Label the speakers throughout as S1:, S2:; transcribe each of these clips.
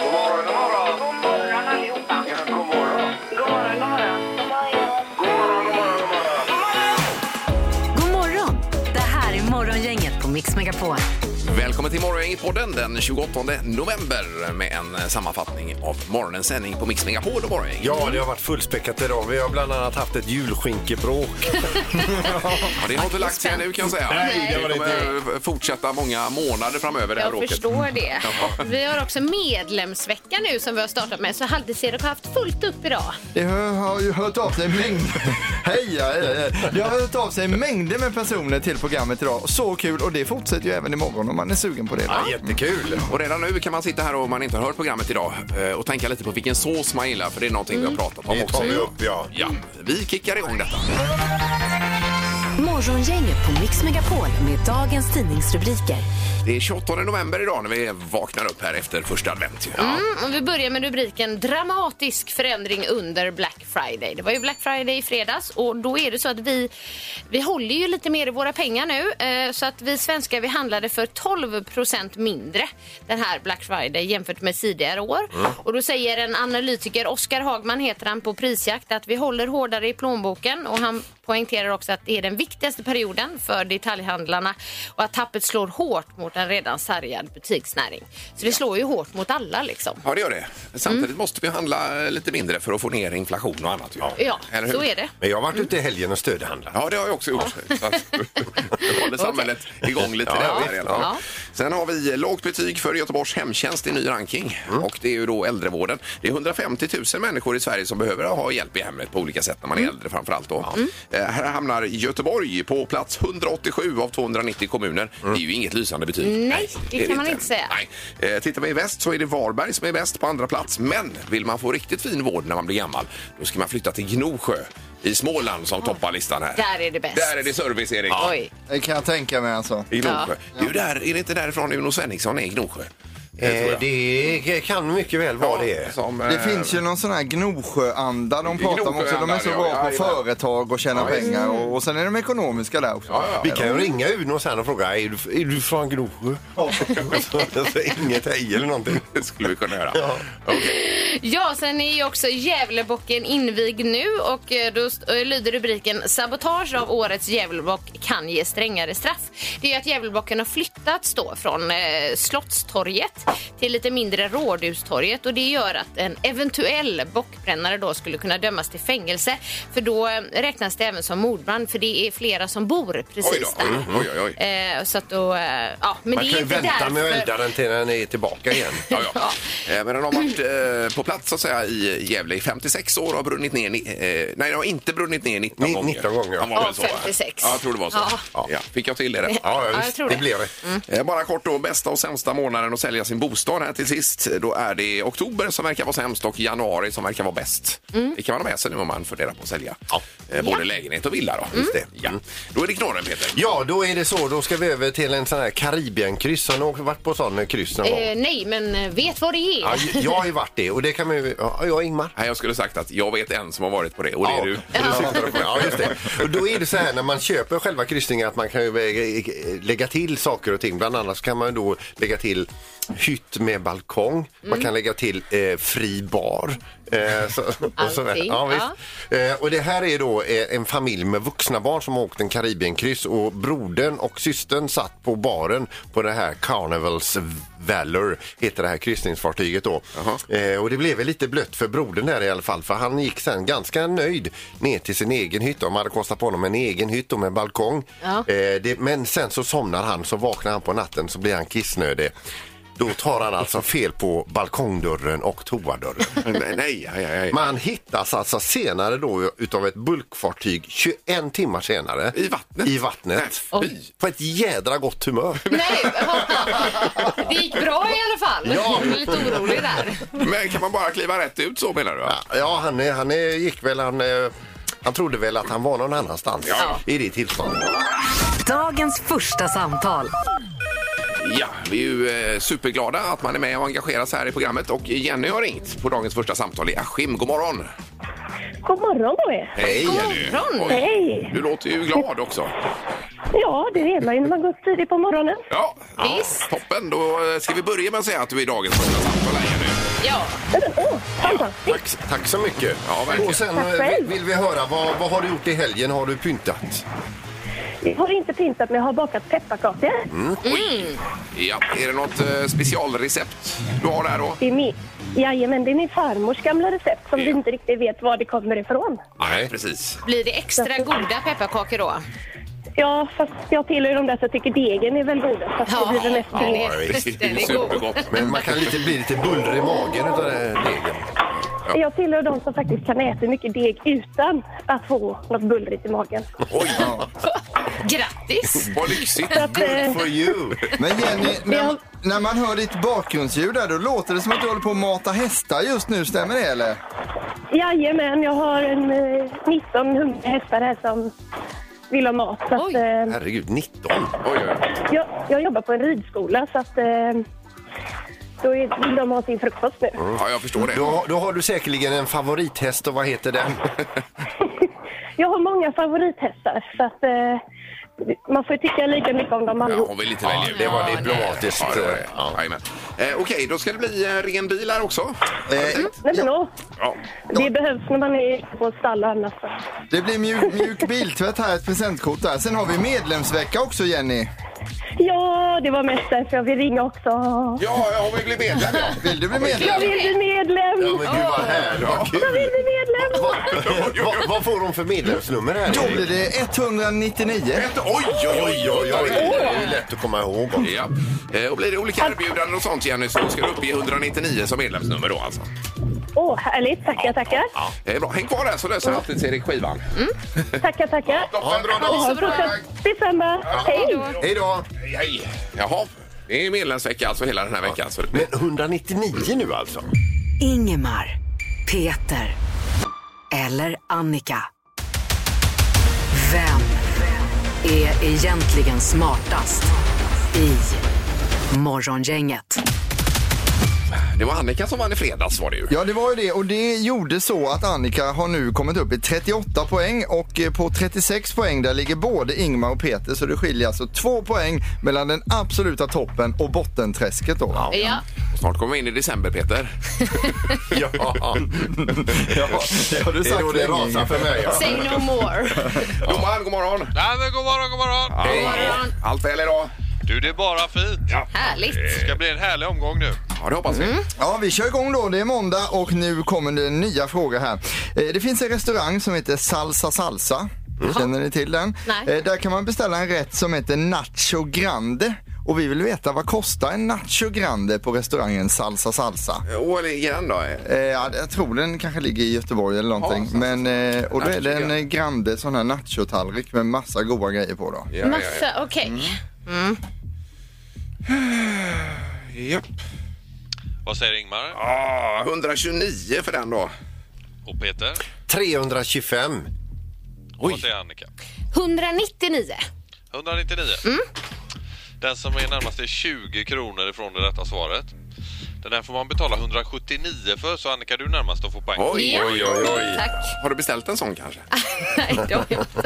S1: God morgon, god morgon.
S2: God morgon allihopa.
S1: Ja, god morgon.
S2: God morgon, god morgon.
S1: God morgon, god morgon, god morgon.
S3: God morgon! Det här är Morgongänget på Mix Megapol.
S4: Välkommen till Morgongänget-podden den 28 november med en eh, sammanfattning av morgonens sändning på Mix Megapol och Morgongänget.
S5: Ja, det har varit fullspäckat idag. Vi har bland annat haft ett julskinkebråk.
S4: Ja, det har inte lagt sig nu kan jag säga.
S5: Nej, det var det
S4: kommer eh, fortsätta många månader framöver det här
S6: Jag
S4: bråket.
S6: förstår det. Vi har också medlemsvecka nu som vi har startat med så Halvtids-Erik har haft fullt upp idag.
S7: Det har har ju hört av sig mängder. Hej, hej, hej. Det har hört av sig mängder med personer till programmet idag. Så kul och det fortsätter ju även imorgon om man är sugen på det.
S5: Ja, jättekul.
S4: Och redan nu kan man sitta här om man inte har hört programmet idag eh, och tänka lite på vilken sås man gillar för det är någonting
S6: Mm.
S4: vi har pratat om
S5: Det
S4: också.
S5: tar vi upp, ja.
S4: Ja, vi kickar igång detta.
S3: Morgongänget på Mix Megapol med dagens tidningsrubriker.
S4: Det är 28 november idag när vi vaknar upp här efter första advent. ju.
S6: Mm, och vi börjar med rubriken Dramatisk förändring under Black Friday. Det var ju Black Friday i fredags och då är det så att vi, vi håller ju lite mer i våra pengar nu eh, så att vi svenskar vi handlade för 12 procent mindre den här Black Friday jämfört med tidigare år. Och då säger en analytiker, Oskar Hagman heter han på Prisjakt, att vi håller hårdare i plånboken och han poängterar också att det är den viktigaste perioden för detaljhandlarna och att tappet slår hårt mot en redan sargad butiksnäring. Så det slår ju hårt mot alla liksom.
S4: Ja, det gör det. Samtidigt
S6: Mm.
S4: måste vi handla eh, lite mindre för att få ner inflation och annat. ju.
S6: Ja,
S4: Eller hur?
S6: så är det.
S5: Men jag har varit ute i helgen och stödhandlat.
S4: Ja, det har jag också gjort. Så att, det håller samhället igång lite
S5: Ja,
S4: där.
S5: visst.
S4: i alla fall.
S6: Ja.
S4: Sen har vi lågt betyg för Göteborgs hemtjänst i ny ranking.
S6: Mm.
S4: Och det är ju då äldrevården. Det är 150 000 människor i Sverige som behöver ha hjälp i hemmet på olika sätt när
S6: Mm.
S4: man är äldre framför allt. Då. Eh, Här hamnar Göteborg på plats 187 av 290 kommuner. Det är ju inget lysande betyg.
S6: Mm. Nej, det
S4: är
S6: kan man inte säga.
S4: Nej. Eh, Tittar vi i väst så är det Varberg som är bäst på andra plats. Men vill man få riktigt fin vård när man blir gammal då ska man flytta till Gnosjö i Småland som toppar listan här.
S6: Ah. Där är det bäst.
S4: Där är det service, Erik.
S6: Oj.
S7: Det kan jag tänka mig alltså.
S4: I Gnosjö.
S6: Ja.
S4: Det är, ju där, är det inte därifrån Uno Svenningsson är i Gnosjö?
S5: Eh, det kan mycket väl vara det.
S4: Som, eh,
S7: Det finns ju någon sån här Gnosjöanda de pratar om också. De är så
S4: Gnosjöanda, ja,
S7: bra på
S4: jajamän.
S7: företag och tjäna pengar och, och sen är de ekonomiska där också.
S4: ja,
S5: Vi kan ju ringa Uno sen och fråga, är du, är du från Gnosjö? Så- så Inget hej eller någonting.
S4: Det skulle vi kunna göra.
S6: Ja, sen är ju också Gävlebocken invigd nu och eh, då st- eh, lyder rubriken Sabotage av årets Gävlebock kan ge strängare straff. Det är ju att Gävlebocken har flyttats då från eh, Slottstorget till lite mindre Rådhustorget och det gör att en eventuell bockbrännare då skulle kunna dömas till fängelse för då eh, räknas det även som mordbrand för det är flera som bor
S4: Oj
S6: precis
S4: då.
S6: där.
S4: Oj, oj, oj.
S6: Eh, så att då, eh, ja, men
S5: Mm. Man
S6: det
S5: kan
S6: är
S5: ju
S6: inte
S5: vänta
S6: därför...
S5: med att elda den till den är tillbaka igen.
S4: Ja, ja. Eh, Men den har varit eh, på plats så att säga, i Gävle i 56 år och har brunnit ner... ni- eh, Nej, den har inte brunnit ner 19
S5: Ni-
S4: gånger.
S5: 19 gånger, ja.
S4: Den var väl
S6: Ja,
S4: så, va?
S6: 56.
S4: Ja, jag tror det var så.
S6: Ja.
S4: Ja. Fick jag till det rätt?
S5: Ja,
S6: jag
S5: visst,
S6: tror
S5: det
S6: det.
S5: blev det.
S4: Eh, Bara kort då, bästa och sämsta månaden att sälja sin bostad här till sist. Då är det oktober som verkar vara sämst och januari som verkar vara bäst. Det kan man ha med sig nu om man funderar på att sälja eh, både lägenhet och villa. Då. Just det. Ja. då är det knorren Peter.
S5: Mm. Ja, då är det så. Då ska vi över till en sån här Karibienkryss. Har ni åkt- varit på sån eh, kryss någon
S6: Eh,
S5: gång?
S6: nej, men eh, vet vad det är.
S5: Ja, j- jag har ju varit det och det kan man ju... Ja, jag och Ingmar.
S4: Nej, jag skulle sagt att jag vet en som har varit på det och det är du.
S5: Ja, ja, just det. Och då är det så här när man köper själva kryssningen att man kan ju väga- lägga till saker och ting. Bland annat så kan man ju då lägga till hytt med balkong. Man kan lägga till eh, fri bar. Eh, så, och, så,
S6: Allting,
S5: ja, visst. Eh, och det här är då eh, en familj med vuxna barn som har åkt en Karibienkryss och brodern och systern satt på baren på det här Carnivals Valor heter det här kryssningsfartyget då. Eh, och det blev väl lite blött för brodern där i alla fall för han gick sen ganska nöjd ner till sin egen hytt. De hade kostat på honom en egen hytt och med balkong.
S6: Ja.
S5: Eh, det, men sen så somnar han, så vaknar han på natten så blir han kissnödig. Då tar han alltså fel på balkongdörren och toadörren.
S4: Nej, nej, nej, nej.
S5: Man hittas alltså senare då utav ett bulkfartyg 21 timmar senare.
S4: I vattnet?
S5: I vattnet.
S4: Nej, fy.
S5: På ett jädra gott humör.
S6: Nej, det gick bra i alla fall.
S5: Ja.
S6: Jag är lite orolig där.
S4: Men kan man bara kliva rätt ut så menar du? va?
S5: Ja, han, är- han är- gick väl, han, eh, han trodde väl att han var någon annanstans
S4: Ja.
S5: i det tillståndet.
S3: Dagens första samtal.
S4: Ja, vi är ju eh, superglada att man är med och engagerar sig här i programmet och Jenny har ringt på dagens första samtal i Askim. God morgon!
S8: God morgon på er!
S4: Hej
S6: God
S4: Jenny!
S6: morgon.
S4: Oj,
S8: Hej!
S4: Du låter ju glad också.
S8: Ja, det är man ju när man går upp tidigt på morgonen.
S4: Ja, ja
S6: Visst.
S4: toppen. Då eh, ska vi börja med att säga att du är dagens första samtal här nu.
S6: Ja,
S8: Åh, fantastiskt!
S5: Tack, tack så mycket.
S4: Ja, verkligen.
S5: och sen
S8: Tack
S5: eh,
S8: själv.
S5: vill vi höra, vad, vad har du gjort i helgen? Har du pyntat?
S8: Jag har inte pyntat men jag har bakat pepparkakor.
S6: Mm.
S4: Ja, är det något eh, specialrecept du har där då?
S8: Det är min, jajamän, det är min farmors gamla recept som vi
S4: Ja.
S8: inte riktigt vet var det kommer ifrån.
S5: Nej.
S4: Precis.
S6: blir det extra goda pepparkakor då?
S8: Ja, fast jag tillhör ju de där som tycker degen är väl godast. Fast det
S6: Ja,
S8: blir det nästan
S6: den
S8: inget.
S6: är fullständigt god.
S4: Supergott.
S5: Men man kan lite, bli lite bullrig i magen utav det- degen.
S8: Jag tillhör de som faktiskt kan äta mycket deg utan att få något bullrigt i magen.
S4: Oj,
S6: Grattis!
S4: vad lyxigt.
S8: Så att, eh,
S5: For you!
S7: Men Jenny, när,
S8: Ja.
S7: när man hör ditt bakgrundsljud där, då låter det som att du håller på att mata hästar just nu. Stämmer det eller?
S8: jajamän, jag har en eh, 19 hungriga hästar här som vill ha mat. Så att,
S6: Oj.
S8: eh,
S5: Herregud, 19!
S4: Oj, oj, oj.
S8: jag, jag jobbar på en ridskola så att eh, då är, vill de ha sin frukost nu.
S4: Ja, jag förstår det.
S5: Då, då har du säkerligen en favorithäst och vad heter den?
S8: Jag har många favorithästar så att eh, man får ju tycka lika mycket om dem
S4: Ja,
S8: allihop.
S4: hon vill lite välja ut.
S5: det var diplomatiskt.
S4: Ja, det var det. Jajamän. Eh, Okej, då ska det bli eh, ren bil här också.
S7: Eh,
S8: Nej men åh,
S4: Ja.
S8: det behövs när man är ute på stall och annat. så.
S7: det blir mjuk, mjuk biltvätt här, ett presentkort där. Sen har vi medlemsvecka också Jenny.
S8: Ja, det var mest därför jag vill ringa också.
S4: Ja, jag har blivit medlem. ja.
S7: Vill du bli
S8: Jag
S7: medlem?
S8: vill bli medlem!
S5: Ja, men gud vad härligt, vad
S8: Jag vill
S5: kul!
S8: bli medlem!
S5: Vad- vad- Vad får hon för medlemsnummer här?
S7: Då blir det 199.
S4: Ett- Oj, oj, oj, oj,
S5: Ja, det
S4: oj.
S5: är ju lätt att komma ihåg.
S4: Ja. Eh, Och blir det olika erbjudanden och sånt Jenny så ska du uppge 199 som medlemsnummer då alltså.
S8: Åh, härligt. Tackar, tackar.
S4: Ja. Mm. Eh, Bra. Häng kvar där så löser alltid Erik skivan.
S8: Tackar, tackar.
S4: Ha en bra
S8: Ha
S4: dag.
S8: en fortsatt Detsamma. Hej!
S5: Hej då!
S4: Hej. Jaha, det är medlemsvecka alltså hela den här veckan. Så det blir...
S5: Men 199 nu alltså?
S3: Ingemar, Peter eller Annika. Vem är egentligen smartast i Morgongänget?
S4: Det var Annika som vann i fredags var det ju.
S7: Ja, det var ju det och det gjorde så att Annika har nu kommit upp i 38 poäng och eh, på 36 poäng där ligger både Ingmar och Peter så det skiljer alltså två poäng mellan den absoluta toppen och bottenträsket då. Ja.
S6: Ja,
S4: Och Snart kommer vi in i december Peter.
S5: Ja,
S7: det har du
S5: det är
S7: sagt
S5: då det
S7: länge.
S5: rasar för mig. Ja.
S6: say no more.
S4: Domaren, god morgon.
S9: Ja, men god morgon, god morgon!
S4: Hej. Allt väl idag?
S9: Du, det är bara fint.
S6: Härligt.
S9: Det ska bli en härlig omgång nu.
S4: Ja, det hoppas vi.
S7: Ja, vi kör igång då. Det är måndag och nu kommer det nya frågor här. Eh, Det finns en restaurang som heter Salsa Salsa. Känner ni till den?
S6: Nej.
S7: Eh, Där kan man beställa en rätt som heter Nacho Grande. Och vi vill veta vad kostar en Nacho Grande på restaurangen Salsa Salsa?
S4: Och ligger den då?
S7: Eh, ja, jag tror den kanske ligger i Göteborg eller någonting.
S4: Ja,
S7: Men, eh, och då är det en
S4: Nacho-grande.
S7: eh, grande sån här nachotallrik med massa goda grejer på då.
S4: Ja, ja,
S6: Massa, okej.
S4: ja. Japp.
S9: Vad säger Ingmar?
S4: Ah, 129 för den då.
S9: Och Peter?
S5: 325.
S9: Vad säger Annika?
S6: 199.
S9: 199. Den som är närmast är 20 kronor ifrån det rätta svaret. Den här får man betala 179 för, så Annika, du är närmast att få poäng.
S4: Oj,
S6: Ja.
S4: oj, oj, oj.
S6: Tack.
S4: Har du beställt en sån kanske?
S6: Nej, det har jag inte.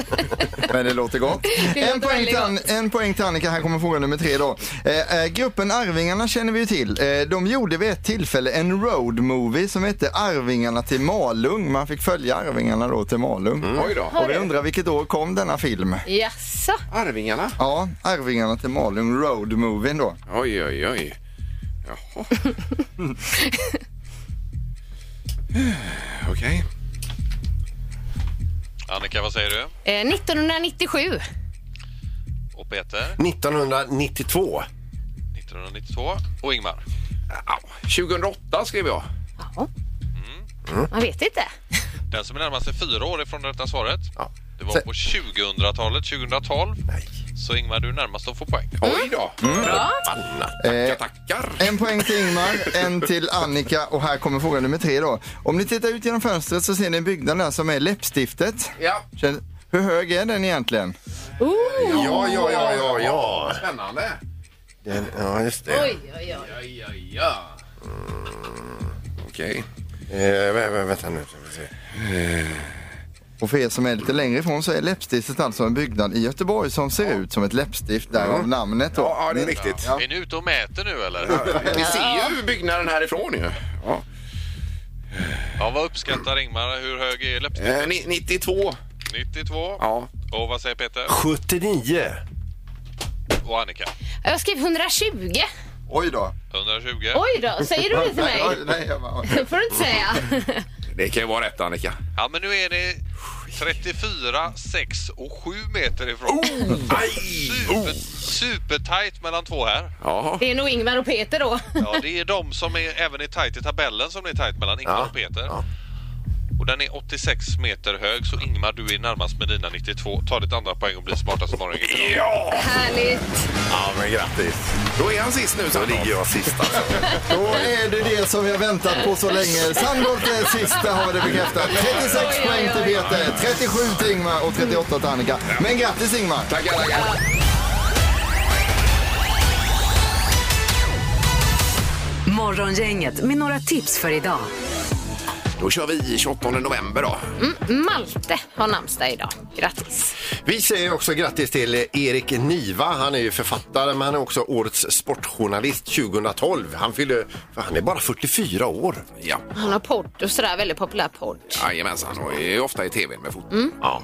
S7: Men det låter gott.
S6: Det
S7: en,
S6: låter
S7: poäng till,
S6: väldigt
S7: An- en poäng till Annika, här kommer fråga nummer tre då. Eh, eh, gruppen Arvingarna känner vi ju till. Eh, de gjorde vid ett tillfälle en roadmovie som hette Arvingarna till Malung. Man fick följa Arvingarna då till Malung.
S4: Oj då.
S7: Och vi undrar vilket år kom denna film?
S6: Jaså?
S4: Arvingarna?
S7: Ja, Arvingarna till Malung, roadmovien då.
S4: Oj, oj, oj. Jaha. Okej.
S9: Annika, vad säger du?
S6: Eh, 1997.
S9: Och Peter?
S5: 1992.
S9: 1992. Och Ingmar?
S4: Au, 2008 skrev jag.
S6: Man vet inte.
S9: Den som är närmast är fyra år ifrån det rätta svaret.
S5: Ja.
S9: Det var
S5: Se-
S9: på 2000-talet, 2012.
S5: Nej.
S9: Så Ingmar, du är närmast att få poäng.
S4: Oj då.
S6: Bra.
S4: Tackar, tackar.
S7: Eh, En poäng till Ingmar, en till Annika och här kommer fråga nummer tre då. Om ni tittar ut genom fönstret så ser ni byggnaden där som är läppstiftet.
S4: Ja.
S7: Känn- Hur hög är den egentligen?
S5: Ja, ja, ja, ja, ja.
S4: Spännande.
S5: Den, ja, just det.
S6: Oj, oj, oj.
S4: Ja, ja, ja. Okej.
S5: Eh, vä- vä- vänta nu. ska vi se.
S7: Och för er som är lite längre ifrån så är läppstiftet alltså en byggnad i Göteborg som ser ut som ett läppstift, därav namnet då.
S4: Ja, ja, det är riktigt.
S9: Är ni ute och mäter nu eller?
S4: Vi ser ju byggnaden härifrån ju. Ja.
S9: Ja, vad uppskattar Ingmar? Hur hög är läppstiftet?
S4: Eh, ni- 92.
S9: 92.
S4: Ja.
S9: Och vad säger Peter?
S10: 79.
S9: Och Annika?
S6: Jag skrev 120.
S7: Oj då.
S9: 120.
S6: Oj då, säger du det till
S7: Nej,
S6: mig?
S7: oj, nej, jag bara,
S6: Det får du inte säga.
S4: Det kan ju vara rätt Annika.
S9: Ja, men nu är ni 34, 6 och 7 meter ifrån.
S5: Oh,
S4: Aj!
S9: Super, supertight mellan två här.
S4: Jaha.
S6: Det är nog Ingvar och Peter då.
S9: Ja, det är de som är, även är tight i tabellen som är tight mellan Ingmar
S5: Ja,
S9: och Peter.
S5: ja.
S9: Och den är 86 meter hög, så Ingmar du är närmast med dina 92. Ta ditt andra poäng och bli smartast i morgon.
S4: Ja!
S6: Härligt.
S5: Ja, men grattis.
S4: Då är han sist nu.
S5: Då
S4: Så
S5: ligger jag sist alltså.
S7: Då är det det som vi har väntat på så länge. Sandholt är sista har vi det bekräftat. 36
S6: Oj,
S7: poäng till
S6: oj,
S7: Peter, 37 till Ingmar och 38 till Annika. Men grattis Ingmar!
S4: Tackar, tackar.
S3: Morgongänget med några tips för idag.
S4: Då kör vi 28 november då.
S6: Malte har namnsdag idag. Grattis.
S5: Vi säger också grattis till Erik Niva. Han är ju författare men han är också årets sportjournalist 2012. Han, fyller, han är bara 44 år.
S4: Ja.
S6: Han har podd och sådär, väldigt populär podd.
S4: Jajamensan, och är ju ofta i tv med fotboll.
S5: Ja.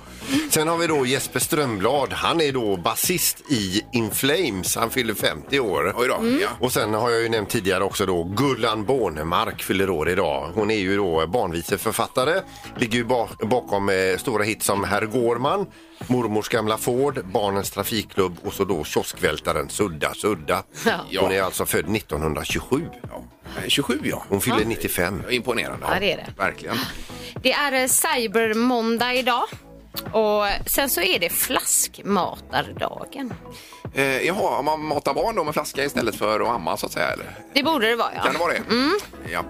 S5: Sen har vi då Jesper Strömblad. Han är då basist i In Flames. Han fyller 50 år.
S4: Oj då. Ja.
S5: Och sen har jag ju nämnt tidigare också då Gullan Bornemark fyller år idag. Hon är ju då barnviseförfattare. Ligger ju bak- bakom eh, stora hits som Herr Gårman, Mormors gamla Ford, Barnens trafikklubb och så då kioskvältaren Sudda Sudda.
S6: Ja.
S5: Hon är alltså född 1927.
S4: Ja. 27 Eh, ja.
S5: Hon fyller 95.
S4: Imponerande.
S6: Ja, det är det.
S4: Verkligen.
S6: Det är eh, cybermåndag idag. Och sen så är det flaskmatardagen.
S4: Eh, jaha, om man matar barn då med flaska istället för att amma så att säga? Eller?
S6: Det borde det vara ja.
S4: Kan det vara det? Ja.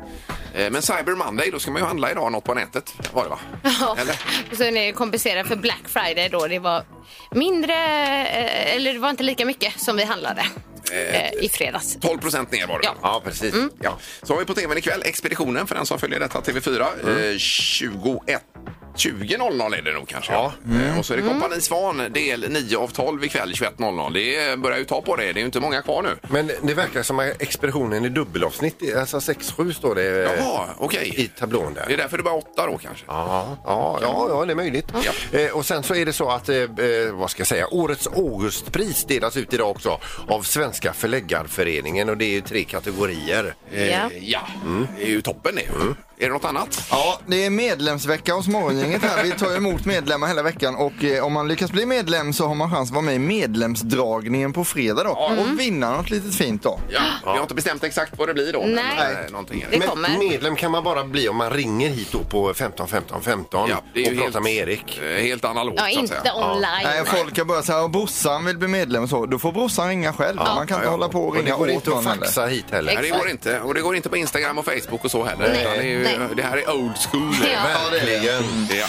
S4: Eh, men Cyber Monday, då ska man ju handla idag något på nätet. Var det va?
S6: Ja.
S4: Eller?
S6: Och sen är det kompenserat för Black Friday då. Det var mindre, eh, eller det var inte lika mycket som vi handlade eh, i fredags.
S4: 12 procent ner var det.
S6: Ja.
S5: Ja, precis.
S4: Ja. Så har vi på tvn ikväll Expeditionen för den som följer detta TV4.
S5: Mm.
S4: Eh, 21. 20.00 är det nog kanske.
S5: Ja. Mm.
S4: Eh, Och så är det Kompani Svan del 9 av 12 ikväll 21.00. Det börjar ju ta på det. Det är ju inte många kvar nu.
S5: Men det verkar som att expeditionen är dubbelavsnitt. Alltså 6-7 står det eh,
S4: Jaha, okej.
S5: i tablån där.
S4: Det är därför det bara är åtta då kanske.
S5: Ja, ja, ja, ja, det är möjligt. Eh, och sen så är det så att, eh, eh, vad ska jag säga, årets Augustpris delas ut idag också av Svenska Förläggarföreningen och det är ju tre kategorier.
S4: Eh,
S6: Ja.
S5: Mm.
S4: ja. Det är ju toppen det. Är det något annat?
S7: Ja, det är medlemsvecka hos Morgongänget här. Vi tar emot medlemmar hela veckan och eh, om man lyckas bli medlem så har man chans att vara med i medlemsdragningen på fredag då och vinna något litet fint då.
S4: Ja. Vi har inte bestämt exakt vad det blir då.
S6: Nej.
S4: Men, eh, någonting är det.
S6: Det kommer.
S5: medlem kan man bara bli om man ringer hit då på 15 15 15
S4: Ja, det är
S5: Mm. och pratar
S4: ju helt-
S5: med Erik.
S4: Eh, Helt analogt
S6: Ja,
S4: så att
S6: inte
S4: säga.
S6: online.
S7: Nej, folk har börjat säga att brorsan vill bli medlem och så. Då får brorsan ringa själv. man kan inte
S4: ja.
S7: hålla på och
S5: Och det
S7: ringa
S5: går
S7: åt
S5: inte att
S7: någon heller.
S5: faxa hit
S4: Nej,
S5: heller.
S4: det går inte. Och det går inte på Instagram och Facebook och så heller.
S6: Nej.
S4: Utan Det, är ju,
S6: Nej.
S4: det här är old school.
S6: Ja.
S5: Verkligen.
S4: Ja.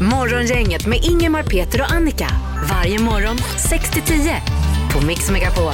S3: Morgongänget med Ingemar, Peter och Annika. Varje morgon 6 till 10 på Mix Megapol.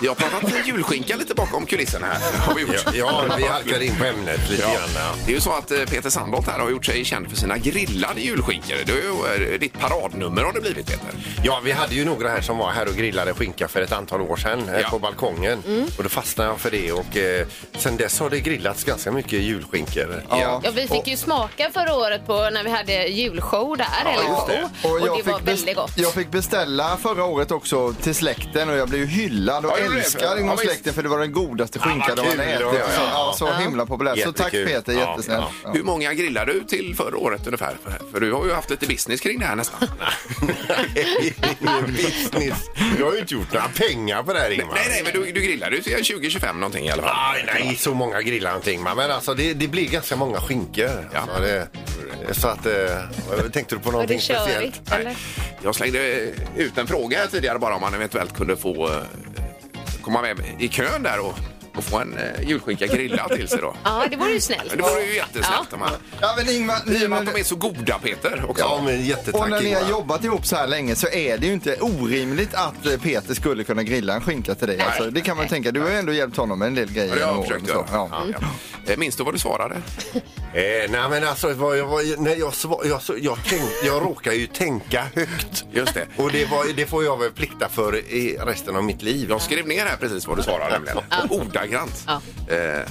S4: Vi har pratat julskinka lite bakom kulissen här. Har vi gjort.
S5: Ja, vi halkar in på ämnet lite
S4: Ja.
S5: grann. ja.
S4: Det är ju så att eh, Peter Sandholt här har gjort sig känd för sina grillade julskinkor. Det är ju eh, ditt paradnummer har det blivit Peter.
S5: Ja, vi hade ju några här som var här och grillade skinka för ett antal år sedan eh,
S4: Ja. Mm.
S5: på balkongen. Och då fastnade jag för det och eh, sen dess har det grillats ganska mycket julskinkor.
S7: Ja.
S6: Ja, vi fick ju smaka förra året på när vi hade julshow där. eller
S5: just
S6: show.
S5: det.
S6: Och,
S7: jag
S6: det
S7: fick
S6: var
S7: bes-
S6: väldigt gott.
S7: Jag fick beställa förra året också till släkten och jag blev ju hyllad och
S4: Ja, gjorde det?
S7: älskad
S4: Ja,
S7: inom
S4: visst.
S7: släkten för det var den godaste skinka
S5: vad
S7: de hade
S5: kul.
S7: ätit.
S5: Ja, ja,
S7: Så,
S5: ja.
S7: ja, så himla populär. Så tack
S5: Jättekul.
S7: Peter,
S5: Ja,
S7: jättesnällt. Ja.
S4: Hur många grillade du till förra året ungefär? För du har ju haft lite business kring det här nästan.
S5: Ingen business. Jag har ju inte gjort några pengar på det här Ingmar.
S4: nej, nej, men du, du grillade ju till 20-25 någonting i alla fall.
S5: Aj, nej, så många grillar någonting. Ingmar. Men alltså det, det blir ganska många skinkor.
S4: Ja.
S5: Alltså, det, så att, eh, tänkte du på
S6: Och
S5: någonting
S6: det kör vi.
S5: speciellt?
S6: Eller?
S4: Jag slängde eh, ut en fråga här tidigare bara om man eventuellt kunde få eh, komma med i kön där och, och få en eh, julskinka grillad till sig då.
S6: Ja, det vore ju snällt.
S4: Men Det vore ju jättesnällt om man...
S7: Ja, men Ingmar,
S4: I
S7: nu
S4: och med att de
S7: när,
S4: är så goda, Peter, också.
S5: Ja, men
S7: och
S5: jättetack
S7: när ni har
S5: Ingmar.
S7: jobbat ihop så här länge så är det ju inte orimligt att eh, Peter skulle kunna grilla en skinka till dig. Alltså, det kan man tänka. Du har ju ändå hjälpt honom med en del grejer.
S4: Eh, Ja, det har
S7: genom
S4: jag försökt
S7: åren och så.
S4: göra. Ja. Eh, Minns du vad du svarade?
S5: Eh, nej men alltså, vad jag, vad, när jag, svar, jag, så- jag, tänk, jag råkar ju tänka högt.
S4: Just det.
S5: Och det, var, det får jag väl plikta för i resten av mitt liv.
S4: Jag skrev ner här precis vad du svarade nämligen. Och Ordagrant.
S6: Ja.
S4: Eh,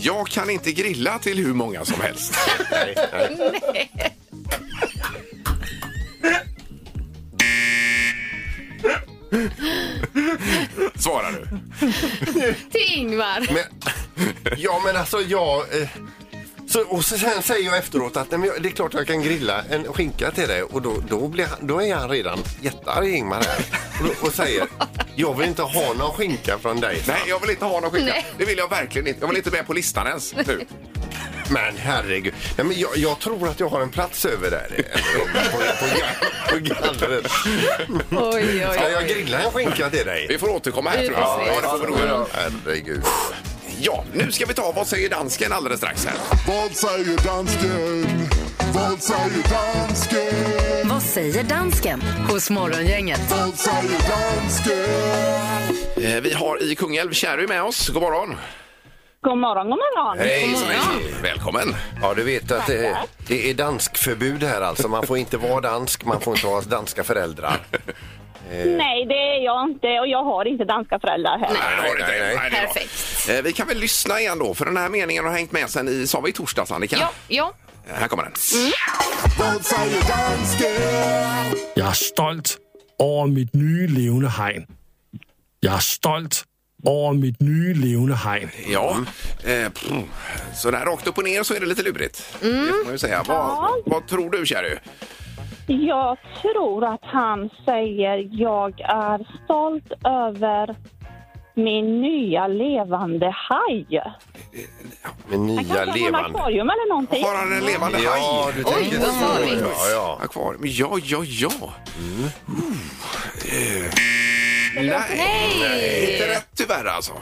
S4: jag kan inte grilla till hur många som helst. Svarar du?
S6: Till Ingvar.
S5: Men, ja men alltså jag... Eh, så, och så, sen säger jag efteråt att nej, men jag, det är klart jag kan grilla en skinka till dig och då, då, blir han, då är han redan jättearg Ingmar här. Och, då- och säger jag vill inte ha någon skinka från dig.
S4: Nej, jag vill inte ha någon skinka.
S6: Nej.
S4: Det vill jag verkligen inte. Jag vill inte med på listan ens nu.
S5: Men herregud. Nej, men jag, jag tror att jag har en plats över där. eh, på, på, på gallret.
S6: Oj, oj,
S5: Ska jag grilla en skinka till dig?
S4: Vi får återkomma här
S6: Vi
S4: tror
S6: får
S4: jag.
S6: se.
S4: Ja, det får vi nog göra.
S5: Herregud.
S4: Ja, nu ska vi ta Vad säger dansken alldeles strax här.
S11: Vad säger dansken? Vad säger dansken?
S3: Vad säger dansken hos Morgongänget?
S11: Vad säger dansken?
S4: Eh, Vi har i Kungälv Cherry med oss. God morgon.
S12: God morgon, god morgon.
S5: Hej,
S4: Välkommen.
S5: Ja, du vet att det, det är danskförbud här alltså. Man får inte vara dansk, man får inte ha danska föräldrar.
S12: Nej, det är jag inte och jag har inte danska föräldrar här.
S4: det har du inte.
S5: nej, nej.
S4: det är bra.
S6: Perfekt.
S4: Eh, Vi kan väl lyssna igen då, för den här meningen har hängt med sen i, sa vi i torsdags, Annika?
S6: Ja, ja.
S4: Eh, Här kommer den.
S11: Vad säger dansken?
S13: Jeg er stolt over mit nye levende hegn. Jeg er stolt over mit nye levende hegn.
S4: Ja. Eh, pff. Så där rakt upp och ner så är det lite lurigt. Det får man ju säga. Vad, vad tror du, Cherry?
S12: Jag tror att han säger jag är stolt över min nya levande haj.
S5: Med nya
S12: Kanske från
S5: levande.
S12: akvarium eller någonting.
S4: Har han en levande haj?
S5: Ja, du tänker
S6: vad
S5: så.
S6: farligt.
S5: Ja, ja.
S4: Akvarium? Ja, ja, ja.
S5: Mm.
S4: Uh. Nej.
S6: Nej.
S4: inte rätt tyvärr alltså.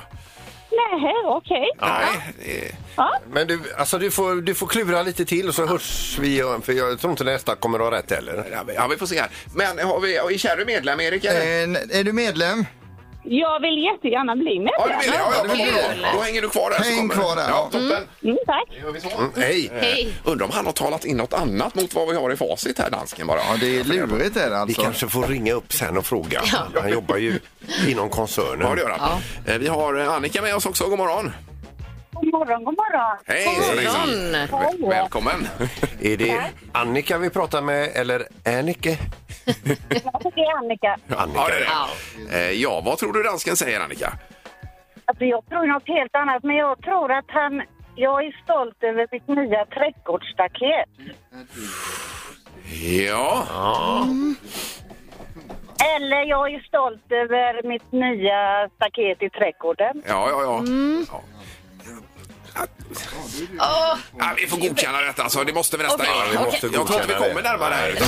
S12: Nej, okej.
S4: Nej, det-
S5: Men du, alltså, du, får, du får klura lite till och så hörs vi. igen, För jag tror inte nästa kommer att ha rätt heller.
S4: ja, vi får se här. Men har vi, är Cherry medlem, Erik? Eller?
S7: Eh, n- är du medlem?
S12: Jag vill jättegärna bli med.
S4: Ja, det vill jag. Ja, ja,
S6: Kul.
S4: då. då hänger du kvar där. så
S7: Häng
S4: kommer-
S7: kvar där,
S4: Ja,
S7: ja.
S4: toppen.
S12: Mm, tack.
S4: Gör vi så.
S5: Mm, hej!
S6: Hej.
S4: Undrar om han har talat in något annat mot vad vi har i facit här, dansken bara.
S7: Ja, det är lurigt är det
S5: Vi
S7: alltså.
S5: kanske får ringa upp sen och fråga. Han jobbar ju inom koncernen.
S4: Ja, det gör han. Eh, Vi har eh, Annika med oss också. God morgon.
S12: God morgon, god morgon.
S4: Hej!
S6: morgon.
S4: Väl- Välkommen.
S5: Är det Annika vi pratar med eller Annike?
S12: Jag heter Annika.
S5: Annika.
S4: Ja, det är det. Eh, ja, vad tror du dansken säger, Annika?
S12: Alltså, jag tror något helt annat, men jag tror att han... Jag är stolt över mitt nya trädgårdsstaket.
S4: Ja,
S12: Eller jag är stolt över mitt nya staket i trädgården.
S4: ja, ja. ja. ja. Ja, vi får godkänna detta. Alltså. Det måste vi nästan
S6: Okej,
S4: göra.
S6: Vi måste
S4: Jag tror inte vi
S5: godkänna
S4: kommer
S5: det.
S4: närmare här.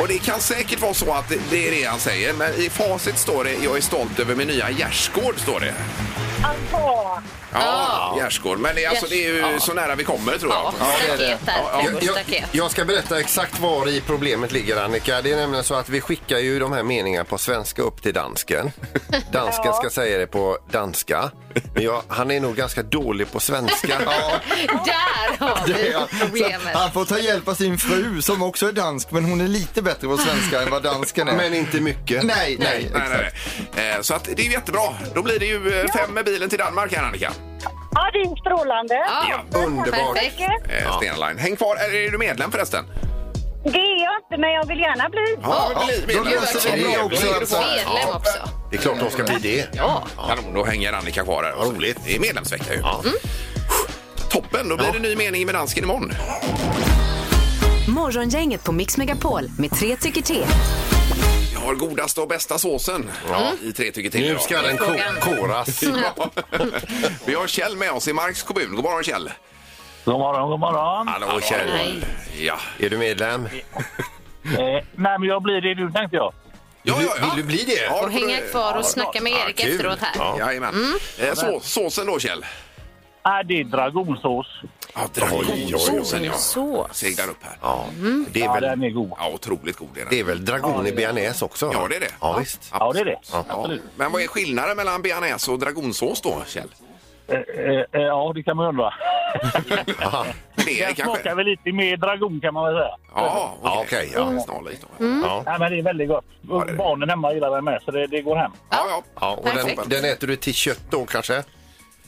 S4: Och det kan säkert vara så att det är det han säger, men i facit står det jag är stolt över min nya gärdsgård. Står det.
S12: Alltså,
S4: Ja, gärdsgård. Men det, är alltså,
S6: Gärs-
S4: det är ju
S6: ja.
S4: så nära vi kommer tror jag.
S6: Ja, staket
S4: Ja,
S6: där.
S4: ja.
S5: Jag, jag,
S6: Staket.
S5: jag ska berätta exakt var i problemet ligger Annika. Det är nämligen så att vi skickar ju de här meningarna på svenska upp till dansken. Dansken ska säga det på danska. Men jag, han är nog ganska dålig på svenska.
S6: Där har vi
S7: Ja, så
S6: problemet.
S7: han får ta hjälp av sin fru som också är dansk men hon är lite bättre på svenska än vad dansken är.
S5: Men inte mycket.
S7: Nej, nej.
S4: Nej, nej, nej. Eh, Så att det är ju jättebra. Då blir det ju eh, fem med bilen till Danmark här Annika.
S12: ja, det är strålande.
S6: Ja,
S5: Underbart.
S6: perfekt.
S4: Eh, Stena Line. Häng kvar. Eller Är du medlem förresten?
S12: Det är jag inte, men jag vill gärna bli.
S4: Ja, bli
S7: Då löser vi det också.
S6: eh,
S7: Alltså.
S6: Medlem också.
S5: Det är klart de ska bli det.
S4: Ja. Kanon, då hänger Annika kvar här. Roligt. Det är medlemsvecka ju. Mm. Toppen, då blir det ny mening med dansken imorgon.
S3: Morgongänget på Mix Megapol med tre tycker till.
S4: Jag har godaste och bästa såsen i tre tycker till.
S5: Nu
S4: idag.
S5: ska den ko- koras.
S4: Ja. Vi har Kjell med oss i Marks kommun. God morgon Kjell!
S13: God morgon, god morgon.
S5: Hallå Kjell.
S4: Ja,
S5: Är du medlem?
S13: Eh, nej, men jag blir det nu tänkte jag.
S4: ja, ja. ja.
S5: Vill du bli det?
S4: Ja,
S6: Och hänga kvar och snacka med Erik
S5: kul.
S6: efteråt här.
S4: Jajamän. Eh, så, såsen då Kjell?
S13: Nej, det är dragonsås.
S4: Ja,
S5: dragonsåsen,
S4: ja.
S6: Sås.
S4: Seglar upp här.
S5: Ja. Det är
S13: Ja,
S5: väl,
S13: den är god.
S4: Ja, otroligt god är den.
S5: det är väl dragon i bearnaise också?
S4: Ja, det är det.
S5: Ja, visst.
S13: Ja, det är det.
S5: Ja.
S13: Absolut.
S4: Men vad är skillnaden mellan bearnaise och dragonsås då, Kjell?
S13: Eh, eh, eh, ja, det kan man undra.
S4: Det är
S14: Den
S4: kanske...
S14: smakar väl lite mer dragon kan man väl säga.
S4: Ja, okej.
S5: ja.
S4: Ja, snarlikt då.
S5: Ja.
S14: Nej, men det är väldigt gott. Och Barnen hemma gillar den med, så det, det går hem.
S4: Ja,
S5: Ja, och den, den äter du till kött då kanske?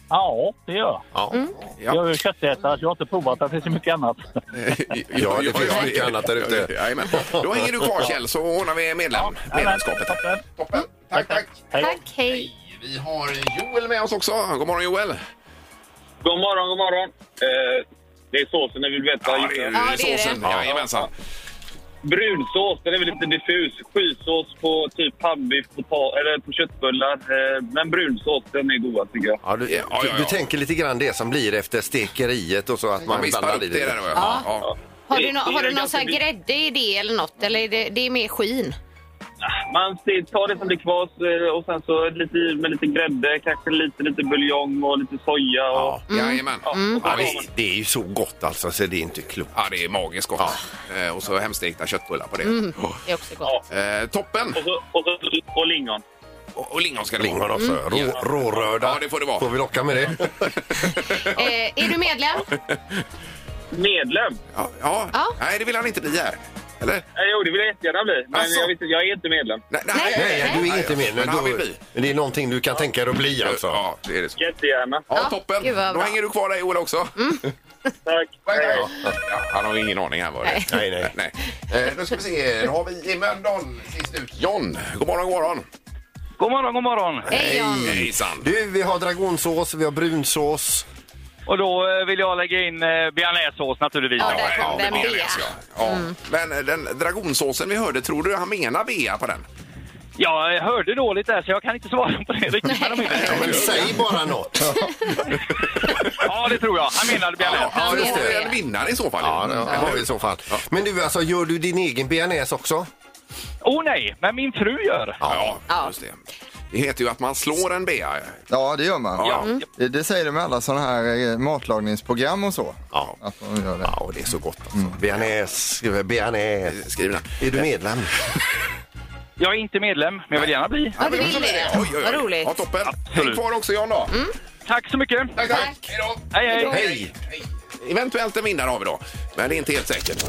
S14: Ja, det gör jag.
S5: Ja.
S4: Ja.
S14: Jag är ju köttätare, så jag har inte provat den till så mycket annat.
S5: Ja, det finns mycket annat där ute.
S4: Jajamän. Då hänger du kvar Kjell så ordnar vi medlem, medlemskapet. Toppen. Tack, tack.
S6: Tack, hej.
S4: Vi har Joel med oss också. God morgon Joel.
S15: God morgon, god morgon. Eh, det är såsen ni vill veta.
S4: Ja, det är Ja, det är såsen. det. Jajamensan.
S15: Brunsås, den är väl lite diffus. Skysås på typ pannbiff, på, ta- eller på köttbullar. Eh, men brunsås, den är godast tycker jag.
S5: Ja, du, du, du tänker lite grann det som blir efter stekeriet och så att man
S4: vispar
S5: blandar
S4: upp
S5: i
S4: det där,
S6: Ja.
S4: Ja.
S6: Har
S15: Det-
S6: du, nå-
S15: det
S6: har
S15: är
S6: du någon
S15: ganska
S6: sån här
S15: dyrt.
S6: grädde i det eller något? Eller är det, det är mer skin?
S15: Man ser- tar det som blir kvar eh, och sen så lite, i med lite grädde, kanske lite, lite buljong och lite soja. Och,
S4: Mm. Jajamän.
S5: Ja, visst, det är ju så gott alltså så det är inte klokt.
S4: Ja, det är magiskt gott. Eh, Och så hemstekta köttbullar på det.
S6: Mm,
S4: Oh.
S6: det är också gott.
S4: Eh, toppen!
S15: och, så, och, så, och lingon.
S4: Och, och lingon ska det
S5: Lingon
S4: vara.
S5: också. Rå,
S4: Ja.
S5: Rårörda.
S4: Ja, det får det vara. Mm.
S5: Får vi locka med det?
S6: Eh, är du medlem?
S15: Medlem?
S4: Ja, ja.
S6: Ja.
S4: Nej, det vill han inte bli här. Eller?
S15: Eh, Jo, det vill jag jättegärna bli. Men
S4: Alltså.
S15: jag, visste, jag är inte medlem.
S4: Nej,
S5: Nej, du är inte med.
S4: Men
S5: Men
S4: han vill
S5: då,
S4: bli.
S5: det är någonting du kan tänka dig att bli alltså.
S4: Ja, det är det så.
S15: Jättegärna.
S4: Ja,
S6: Ja,
S4: toppen.
S6: gud vad
S4: Då
S6: bra. Mm.
S4: hänger du kvar där Joel också.
S15: Tack.
S4: Ja. Ja, han har ingen aning här vad det
S5: Nej, nej.
S4: Nej. Eh, nu ska vi se. Då har vi i Mölndal sist ut. John, god morgon, god morgon.
S15: God morgon, god morgon.
S6: Hej Jan.
S4: Hejsan.
S5: Du, vi har dragonsås, vi har brunsås.
S15: Och då eh, vill jag lägga in eh, bearnaisesås naturligtvis.
S6: Ja, där kom den
S4: det är
S6: bea. Mm.
S4: det, ska jag. Ja. Men eh, den dragonsåsen vi hörde, tror du han menar bea på den?
S15: Jag hörde dåligt där så jag kan inte svara på det riktigt. Men de
S5: Ja, men säg bara något.
S15: ja, det tror jag. Han menade bearnaise.
S4: Ja,
S6: Han
S4: då får
S6: menar
S4: vi
S6: det.
S4: en vinnare i så fall.
S5: Ja, det har vi i så fall. Men du, alltså, gör du din egen bearnaise också?
S15: Åh oh, nej, men min fru gör.
S4: Ja,
S6: Ja.
S4: just det. Det heter ju att man slår en bea.
S7: Ja, det gör man.
S4: Ja.
S7: Det, det säger de med alla sådana här eh, matlagningsprogram och så.
S5: Ja.
S7: Att de gör det.
S5: Ja, och det är så gott alltså. Bearnaise, bearnaise.
S4: Skriv den.
S5: Är du medlem?
S15: Jag är inte medlem, men jag vill gärna bli.
S6: Ja, du vill det?
S4: Oj, oj, oj.
S6: Vad roligt. Mm,
S4: Ja, toppen.
S15: Absolut.
S4: Häng kvar också, Jan. Då.
S15: Tack så mycket.
S4: Tack, tack. Hej då.
S15: Hej, hej.
S5: Hej!
S4: Eventuellt en vinnare har vi då, men det är inte helt säkert.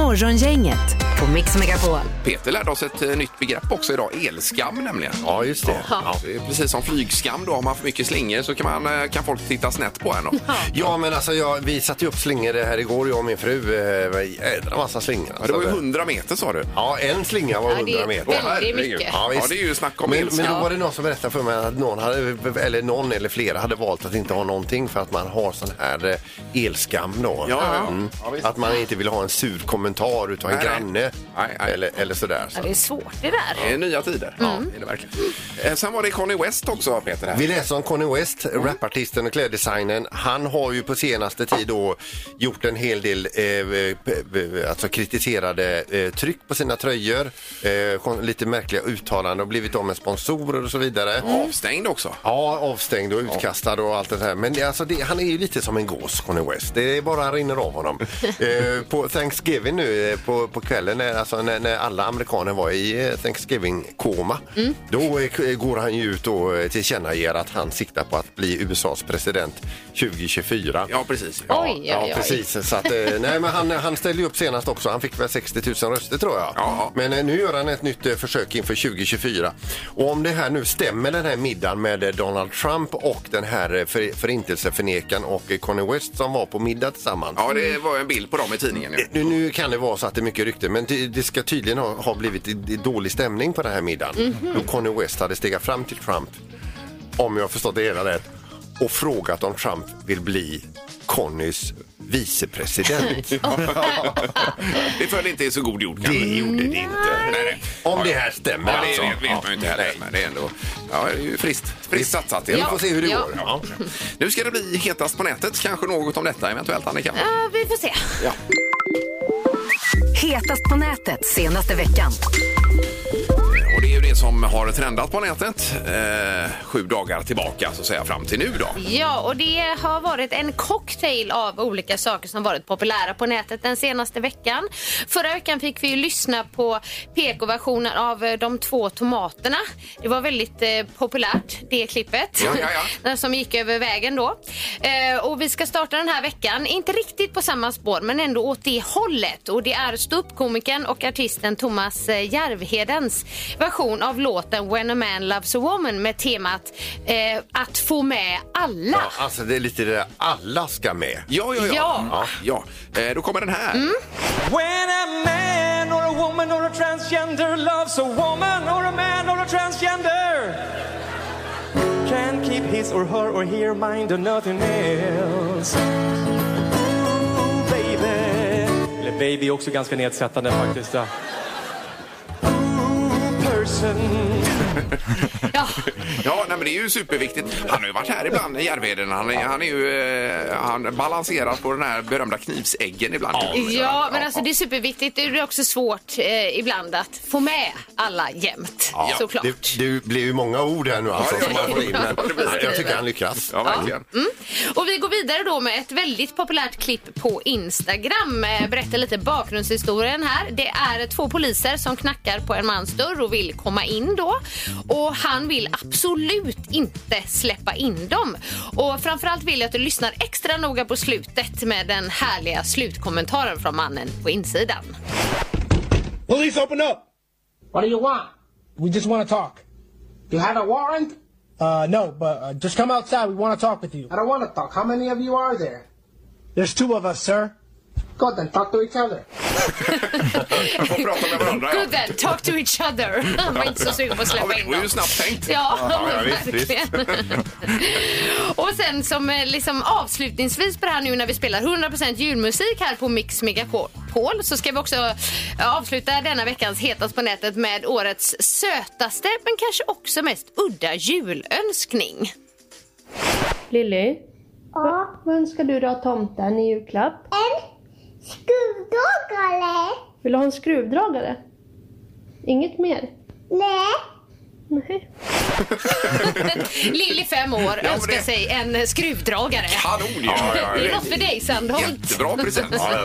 S3: Morgongänget på Mix Megapol.
S4: Peter lärde oss ett eh, nytt begrepp också idag, elskam nämligen.
S5: Ja, just det.
S4: Ja, det är precis som flygskam då, har man för mycket slingor så kan, man, eh, kan folk titta snett på en. Då.
S5: Ja, men alltså jag, vi satte ju upp slingor här igår, jag och min fru. eh, Jädra massa slingor.
S4: Ja, det var ju
S5: alltså.
S4: 100 meter sa du.
S5: Ja, en slinga var
S6: Ja, det är
S5: 100 meter.
S6: väldigt mycket.
S5: Ja, visst.
S4: Ja, det är ju snack om
S5: men,
S4: elska.
S5: men då var det någon som berättade för mig att någon, hade, eller någon eller flera hade valt att inte ha någonting för att man har sån här eh, elskam då.
S4: Ja, ja, ja.
S5: Mm.
S4: Ja, visst.
S5: att man inte vill ha en sur kommentar utav en
S4: Nej, nej.
S5: granne
S4: Nej, nej.
S5: Eller, eller sådär.
S6: Ja,
S5: Så.
S6: det är svårt det där.
S4: Det är nya tider.
S6: Mm.
S4: Ja, det är det verkligen. Eh, Sen var det Conny West också, Peter. Här.
S5: Vi läser om Conny West, rapartisten och kläddesignern. Han har ju på senaste tid då gjort en hel del eh, p- p- alltså kritiserade eh, tryck på sina tröjor, eh, kon- lite märkliga uttalanden och blivit av med sponsorer och så vidare.
S4: Avstängd också.
S5: Ja, avstängd och utkastad och allt det här. Men det, alltså det, han är ju lite som en gås, Conny West. Det är bara han rinner av honom. eh, på Thanksgiving nu eh, på, på kvällen, när, alltså när, när alla amerikaner var i eh, Thanksgiving-koma, då eh, går han ju ut och eh, tillkännager att han siktar på att bli USAs president 2024.
S4: Ja, precis.
S5: Ja,
S6: Oj, oj,
S5: ja,
S6: oj.
S5: precis. Så att, eh, nej, men han, han ställde ju upp senast också. Han fick väl 60 000 röster tror jag.
S4: Ja.
S5: Men eh, nu gör han ett nytt eh, försök inför 2024. Och om det här nu stämmer den här middagen med eh, Donald Trump och den här eh, för, förintelseförnekaren och eh, Kanye West som var på middag tillsammans.
S4: Ja, det var ju en bild på dem i tidningen. Ju.
S5: Nu, nu kan det vara så att det är mycket rykte, men det, det ska tydligen ha, ha blivit i- i dålig stämning på den här middagen.
S4: Mhm.
S5: Då Kanye West hade stegat fram till Trump, om jag har förstått det hela rätt, och frågat om Trump vill bli Connys vicepresident.
S4: Det föll inte i så god jord kanske.
S5: Det gjorde det inte.
S4: Nej, nej.
S5: Om det här stämmer
S4: Ja, det,
S5: alltså.
S4: det vet man ju inte heller, men det är ändå ja, det är ju friskt, friskt satsat. i alla
S5: Vi får
S4: fall.
S5: se hur det
S6: Ja.
S5: går. Ja.
S4: Nu ska det bli hetast på nätet. Kanske något om detta eventuellt, Annika?
S6: Ja, vi får se.
S3: Hetast på nätet senaste veckan.
S4: Och det är ju det som har trendat på nätet eh, sju dagar tillbaka, så att säga, fram till nu då.
S6: Ja, och det har varit en cocktail av olika saker som varit populära på nätet den senaste veckan. Förra veckan fick vi ju lyssna på PK-versionen av eh, De två tomaterna. Det var väldigt eh, populärt, det klippet.
S4: Ja, ja, ja.
S6: Den eh, som gick över vägen då. Eh, och vi ska starta den här veckan, inte riktigt på samma spår men ändå åt det hållet. Och det är ståuppkomikern och artisten Thomas eh, Järvhedens version av låten When a man loves a woman med temat eh, att få med alla.
S5: Ja, alltså det är lite det där, alla ska med.
S4: Ja, ja,
S6: Ja.
S4: ja. ja. Eh, Då kommer den här.
S11: When a man or a woman or a transgender loves a woman or a man or a transgender can keep his or her or her mind on nothing else. Ooh, baby. Eller baby är också ganska nedsättande faktiskt. ja. Ooh, person.
S4: Ja, nej, men det är ju superviktigt. Han har ju varit här ibland, Järvheden. Han, är- han, är ju, eh, han balanserar på den här berömda knivsäggen ibland.
S6: Ja, men alltså det är superviktigt. Det är också svårt eh, ibland att få med alla jämt. Såklart.
S5: Det, det blir ju många ord här nu alltså som man får in. Men jag tycker han lyckas.
S4: Ja, verkligen.
S6: Och vi går vidare då med ett väldigt populärt klipp på Instagram. Eh, Berätta lite bakgrundshistorien här. Det är två poliser som knackar på en mans dörr och vill komma in då. Och han vill absolut inte släppa in dem. Och framförallt vill jag att du lyssnar extra noga på slutet med den härliga slutkommentaren från mannen på insidan.
S16: Police, open up! What do you want? We just want to talk. You have a warrant? Uh, no, but uh, just come outside. We want to talk with you. I don't want to talk. How many of you are there? There's two of us, sir. Go then, talk to each other.
S4: Man får prata med varandra.
S6: Good then, talk to each other. Han var inte så sugen på att
S4: Ja,
S6: släppa
S4: men
S6: in
S4: Det var ju
S6: dem.
S4: snabbt tänkt.
S6: Ja, men verkligen. Och sen som eh, liksom avslutningsvis på det här nu när vi spelar 100% julmusik här på Mix Megapol så ska vi också eh, avsluta denna veckans Hetast på nätet med årets sötaste men kanske också mest udda julönskning.
S17: Lilly? Ja? Vad önskar du dig av tomten i julklapp? En skruvdragare! Vill du ha en skruvdragare? Inget mer? Nej. Nej.
S6: Lilly fem år
S17: Ja, men
S6: önskar
S17: det-
S6: sig en eh, skruvdragare.
S4: Kanon ju!
S6: Det är något för dig Sandholt.
S7: Ja,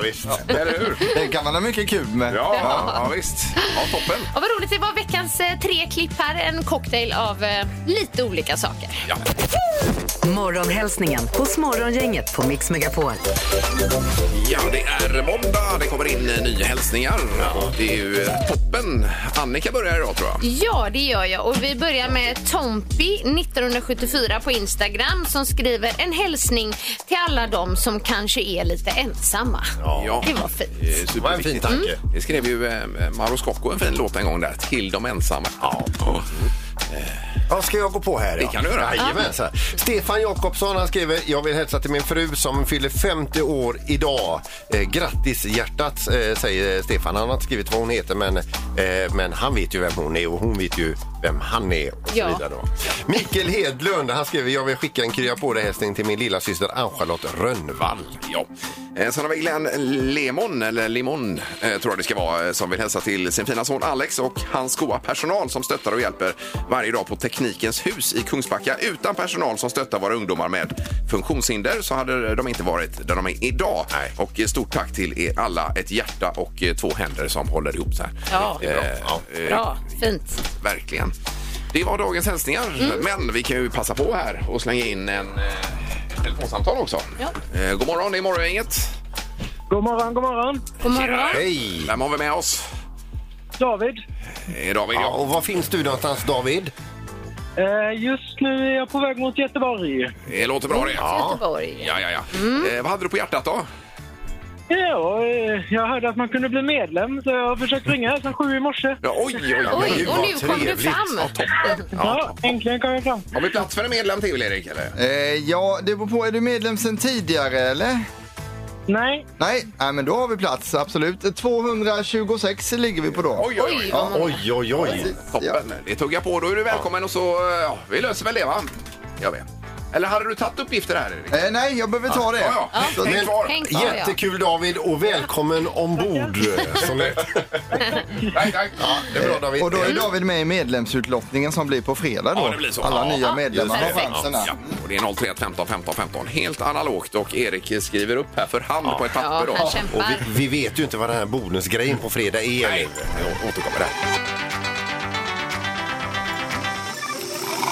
S4: visst. Eller hur?
S7: Det kan man ha mycket kul med.
S4: Ja, ja, visst. Ja, toppen.
S6: Och vad roligt, det var veckans eh, tre klipp här. En cocktail av eh, lite olika saker.
S3: Morgonhälsningen hos Morgongänget på Mix Megapol.
S4: Ja, det är måndag. Det kommer in eh, nya hälsningar. Och Det är ju eh, toppen. Annika börjar idag, tror jag.
S6: Ja, det gör jag. Och Vi börjar med Tompi, 1974, på Instagram som skriver en hälsning till alla de som kanske är lite ensamma. Det var fint.
S4: Det var en fin tanke. Det skrev ju eh, Mauro Scocco en fin låt en gång där, Till de ensamma. Ja.
S5: Ja, ska jag gå på här?
S4: Det kan du göra.
S5: Jajamän, så här. Stefan Jakobsson han skriver Jag vill hälsa till min fru som fyller 50 år idag. Eh, grattis hjärtat eh, säger Stefan. Han har inte skrivit vad hon heter men, eh, men han vet ju vem hon är och hon vet ju vem han är. Och så
S10: Ja.
S5: vidare då. Mikael Hedlund han skriver Jag vill skicka en krya på dig hälsning till min lilla syster Ann-Charlotte Rönnvall.
S4: Ja. Eh, Sen har vi Glenn Lemon, eller Limon eh, tror jag det ska vara, eh, som vill hälsa till sin fina son Alex och hans goa personal som stöttar och hjälper varje dag på Teknikens hus i Kungsbacka. Utan personal som stöttar våra ungdomar med funktionshinder så hade de inte varit där de är idag. Och eh, stort tack till er alla, ett hjärta och eh, två händer som håller ihop så här.
S6: Ja.
S4: Eh, eh,
S6: Bra, fint.
S4: Verkligen. Det var dagens hälsningar,
S14: Mm.
S4: men vi kan ju passa på här och slänga in en eh, telefonsamtal också. Eh, god morgon, det är Morgongänget.
S14: God morgon, god morgon.
S6: God
S4: Hej! Vem har vi med oss?
S14: David.
S4: Eh, David, ja.
S5: Ja, och var finns du någonstans David?
S14: Eh, just nu är jag på väg mot Göteborg.
S4: Det låter bra det.
S14: Ja.
S4: Ja, ja, ja.
S14: Mm.
S4: Eh, vad hade du på hjärtat då?
S14: Ja, eh, jag hörde att man kunde bli medlem så jag har försökt ringa här sedan sju i morse.
S4: Ja, oj, oj, oj.
S14: Oj,
S4: Gud,
S14: och
S4: vad
S14: nu kom du
S4: trevligt.
S14: fram.
S4: Ja, toppen.
S14: Ja, äntligen kom jag fram.
S4: Har vi plats för en medlem till, Erik? Eller?
S7: Eh, ja, det beror på. Är du medlem sen tidigare eller?
S14: Nej.
S7: Nej, Nej men då har vi plats, absolut. 226 ligger vi på då.
S4: Oj, oj, oj.
S7: Ja.
S5: Oj, oj, oj.
S4: Toppen. Det tuggar på. Då är du välkommen och så... eh, Ja, vi löser väl det, va? Gör vi. Eller hade du tagit uppgifter här Erik?
S7: Eh, nej, jag behöver ta det.
S4: Ja, ja.
S7: Så-
S5: Men, jättekul David och välkommen ombord. Som det- det är bra, David. Mm.
S7: Och då är David med i medlemsutlottningen som blir på fredag då.
S4: Ja, det blir så.
S7: Alla
S4: ja.
S7: nya medlemmar har chansen där.
S4: Ja, och det är 031 15 15 15. Helt analogt och Erik skriver upp här för hand på ett papper. då.
S5: och vi, vi vet ju inte vad den här bonusgrejen på fredag är.
S4: Nej, jag återkommer där.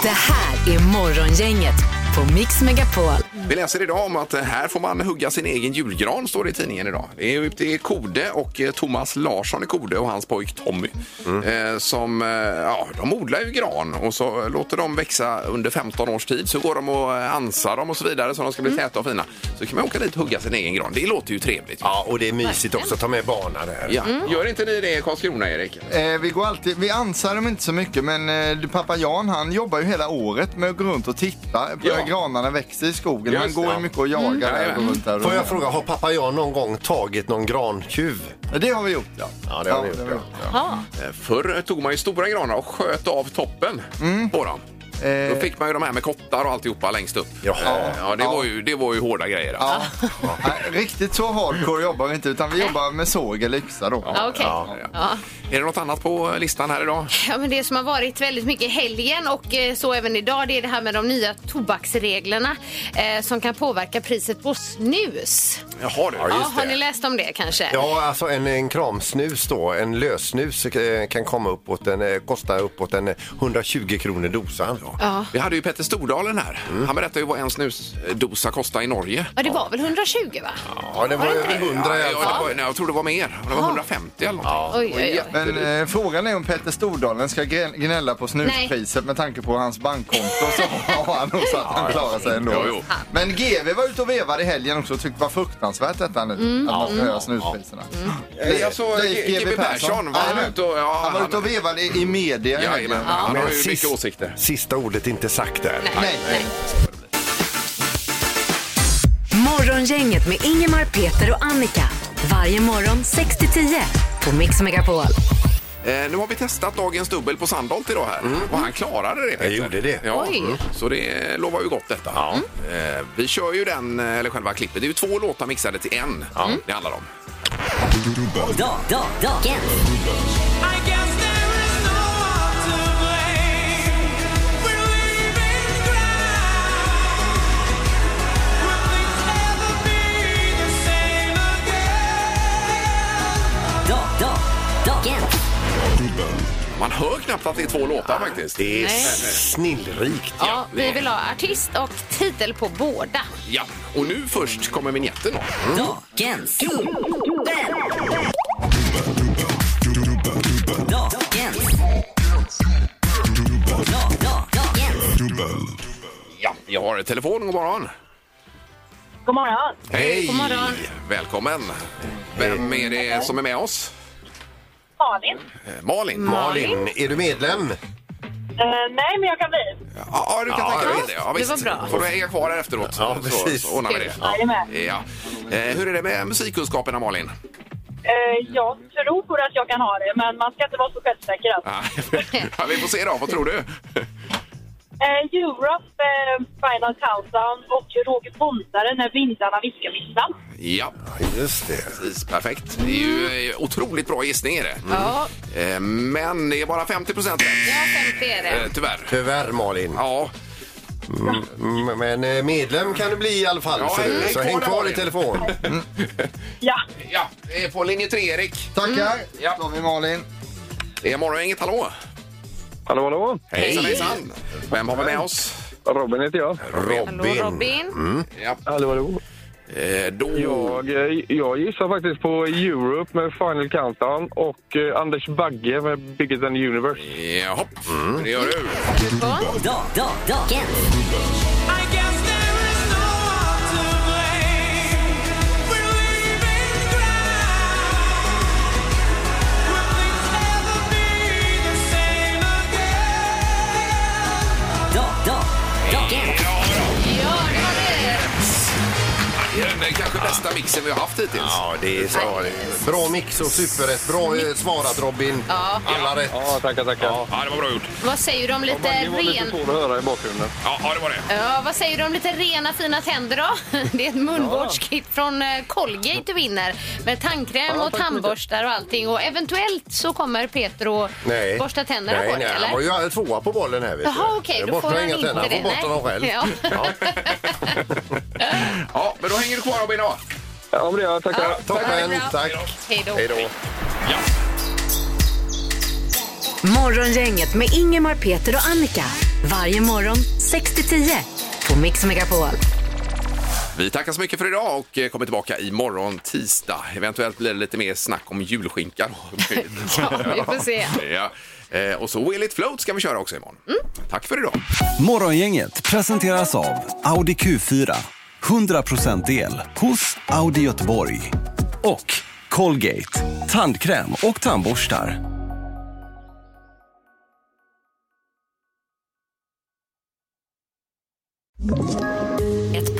S3: Det här är Morgongänget på Mix Megapol.
S4: Vi läser idag om att eh, här får man hugga sin egen julgran, står det i tidningen idag. Det är ute i Kode och eh, Thomas Larsson i Kode och hans pojk Tommy.
S7: Mm.
S4: Eh, som, eh, ja, de odlar ju gran och så låter de växa under 15 års tid. Så går de och eh, ansar dem och så vidare så de ska bli täta och fina. Så kan man åka dit och hugga sin egen gran. Det låter ju trevligt.
S5: Ja, och det är mysigt också att ta med barnen där.
S4: Ja. Gör inte ni det i Karlskrona, Erik?
S7: Eh, vi går alltid, vi ansar dem inte så mycket men eh, pappa Jan han jobbar ju hela året med att gå runt och titta på
S5: Ja.
S7: när granarna växer i skogen.
S5: Just
S7: han går
S5: det.
S7: ju mycket och jagar
S5: Mm.
S7: där och går runt där.
S5: Får jag fråga, har pappa Jan någon gång tagit någon grantjuv?
S7: Det har vi gjort ja.
S5: Ja, det har
S7: Ja,
S5: vi gjort.
S7: det har vi
S5: ja.
S6: Ja.
S4: Eh, Förr tog man ju stora granar och sköt av toppen på dem.
S7: Eh.
S4: Då fick man ju de här med kottar och alltihopa längst upp. Eh, Ja, det, Var ju, det var ju hårda grejer. Alltså.
S7: Nej, riktigt så hardcore jobbar vi inte utan vi jobbar med såg eller yxa då.
S6: Ja, okej. Ja.
S4: Är det något annat på listan här idag?
S6: Ja, men det som har varit väldigt mycket i helgen och eh, så även idag det är det här med de nya tobaksreglerna eh, som kan påverka priset på snus.
S4: Jaha, du.
S5: Ja, just
S6: har ni
S5: det.
S6: läst om det kanske?
S5: Ja, alltså en, en kramsnus då, en lössnus eh, kan komma uppåt en, eh, kosta uppåt en eh, 120 kronor dosan.
S6: Ja.
S4: Vi hade ju Petter Stordalen här. Han berättade ju vad en snusdosa kostar i Norge.
S6: Ja, det var väl 120 va?
S5: Ja, det var över 100 i alla
S4: ja, det var, nej, Jag tror det var mer. Det var
S6: Ja.
S4: 150 eller något.
S6: Oj, oj, oj.
S7: Men eh, frågan är om Petter Stordalen ska grä- gnälla på snuspriset med tanke på hans bankkonto så har han nog så att han klarar sig ändå.
S4: Jo, jo.
S7: Men GV var ute och vevade i helgen också och tyckte det var fruktansvärt detta nu.
S4: Mm.
S7: Att man
S4: Ja.
S7: får höja snuspriserna. Mm.
S4: Eh, Alltså, GB Persson. var
S7: Ja,
S4: han ute och- ja,
S7: Han var ute och vevade i, i media i
S4: Ja,
S7: helgen.
S4: jajamän. Han har ju mycket åsikter.
S5: Sista ordet är inte sagt där.
S7: Nej, nej.
S3: Morgongänget med Ingemar, Peter och Annika. Varje morgon 6 till 10 på Mix Megapol.
S4: Eh, nu har vi testat dagens dubbel på Sandholt idag här. Och han klarade det. Jag
S5: gjorde det.
S4: Mm. Ja.
S6: Oj.
S4: Mm. Så det lovar ju gott detta. Eh, vi kör ju den, eh, eller själva klippet. Det är ju två låtar mixade till en. mm, Det handlar om. Man hör knappt att det är två låtar faktiskt.
S5: Det är
S6: Nej.
S5: snillrikt.
S6: Ja, vi vill ha artist och titel på båda.
S4: Ja, och nu först kommer vignetten då.
S3: Dagens Dagens
S4: Ja, jag har ett telefon. God morgon.
S12: God morgon.
S4: Hej!
S12: God morgon.
S4: Välkommen. Vem är det som är med oss?
S12: Malin.
S4: Eh, Malin.
S5: Malin. är du medlem?
S12: Eh, nej, men jag kan bli.
S4: Ja, ja, du kan
S5: Ja,
S4: tänka dig
S5: ja,
S4: det. Ja,
S5: det
S4: visst.
S5: var bra.
S4: får du hänga kvar här efteråt
S5: Ja,
S4: så,
S5: precis.
S4: så ordnar vi det.
S12: Jajamän.
S4: Ja. Eh, hur är det med musikkunskaperna, Malin?
S12: Eh, jag tror att jag kan ha det, men man ska inte vara så självsäker. Alltså.
S4: Ja, vi får se då. Vad tror du?
S12: Eh, Europe, eh, Final Countdown och Roger Pontare när vindarna viskar visslan.
S4: Ja,
S5: just det.
S4: Precis, perfekt. Det är ju eh, otroligt bra gissning. Är det.
S6: Ja,
S4: Eh, Men det är bara 50 procent Eh,
S6: det är
S5: Eh,
S6: det.
S4: tyvärr.
S5: Tyvärr, Malin.
S4: Ja.
S5: Men eh, medlem kan du bli i alla fall.
S4: Ja,
S5: så du-
S4: häng
S5: så
S4: kvar
S5: häng
S4: där,
S5: kvar i
S4: Malin.
S5: telefon.
S12: Ja.
S4: Ja, det är på linje 3, Erik.
S7: Tackar. Ja. Då har vi Malin.
S4: Det är morgongänget. Hallå!
S18: Hallå, hallå!
S4: Hejsan, hejsan! Vem har vi med oss?
S18: Robin heter jag.
S6: Hallå Robin.
S5: Mm.
S4: Ja.
S18: Hallå, hallå. jag, eh, jag gissar faktiskt på Europe med Final Countdown och eh, Anders Bagge med Bigger than the Universe.
S4: Jaha,
S5: Mm.
S4: det gör du.
S6: Ja, det var det.
S4: Det är en eh, kanske bästa mixen vi har haft hittills.
S5: Ja, det är så. Bra mix och superrätt. Bra eh, svarat Robin.
S6: Ja.
S5: Alla rätt.
S18: Ja, tackar, tackar.
S4: Ja, det var bra gjort.
S6: Vad säger du om lite
S18: Det var lite
S6: ren...
S18: svårt att höra i bakgrunden.
S4: Ja, det var det.
S6: Ja, vad säger du om lite rena fina tänder då? Det är ett munvårdskit från eh, Colgate du vinner. Med tandkräm
S5: Ja,
S6: och
S5: tack så mycket.
S6: tandborstar och allting. Och eventuellt så kommer Peter och
S5: Nej.
S6: borsta tänderna
S5: nej,
S6: på dig,
S5: nej. Han var
S6: eller?
S5: ju all- tvåa på bollen här. Vet du.
S6: Jaha, okej,
S5: Jag
S6: då
S5: borstar
S6: får han
S5: inga
S6: inte
S5: tänder.
S6: det.
S5: Han får borsta dem själv.
S6: Ja.
S4: Ja, men då hänger du kvar Robin då.
S18: Ja, men det gör jag. Tackar.
S5: Toppen, tack.
S6: Hej då.
S5: Hej då.
S3: Morgongänget med Ingemar, Peter och Annika. Varje morgon 6 till 10 på Mix Megapol.
S4: Vi tackar så mycket för idag och eh, kommer tillbaka imorgon tisdag. Eventuellt blir det lite mer snack om julskinka. då.
S6: Ja, vi får se. Mm.
S4: ja. Eh, Och så Will It Float ska vi köra också imorgon. Tack för idag.
S19: Morgongänget presenteras av Audi Q4. 100% el hos Audi Göteborg. Och Colgate. Tandkräm och tandborstar.
S20: Ett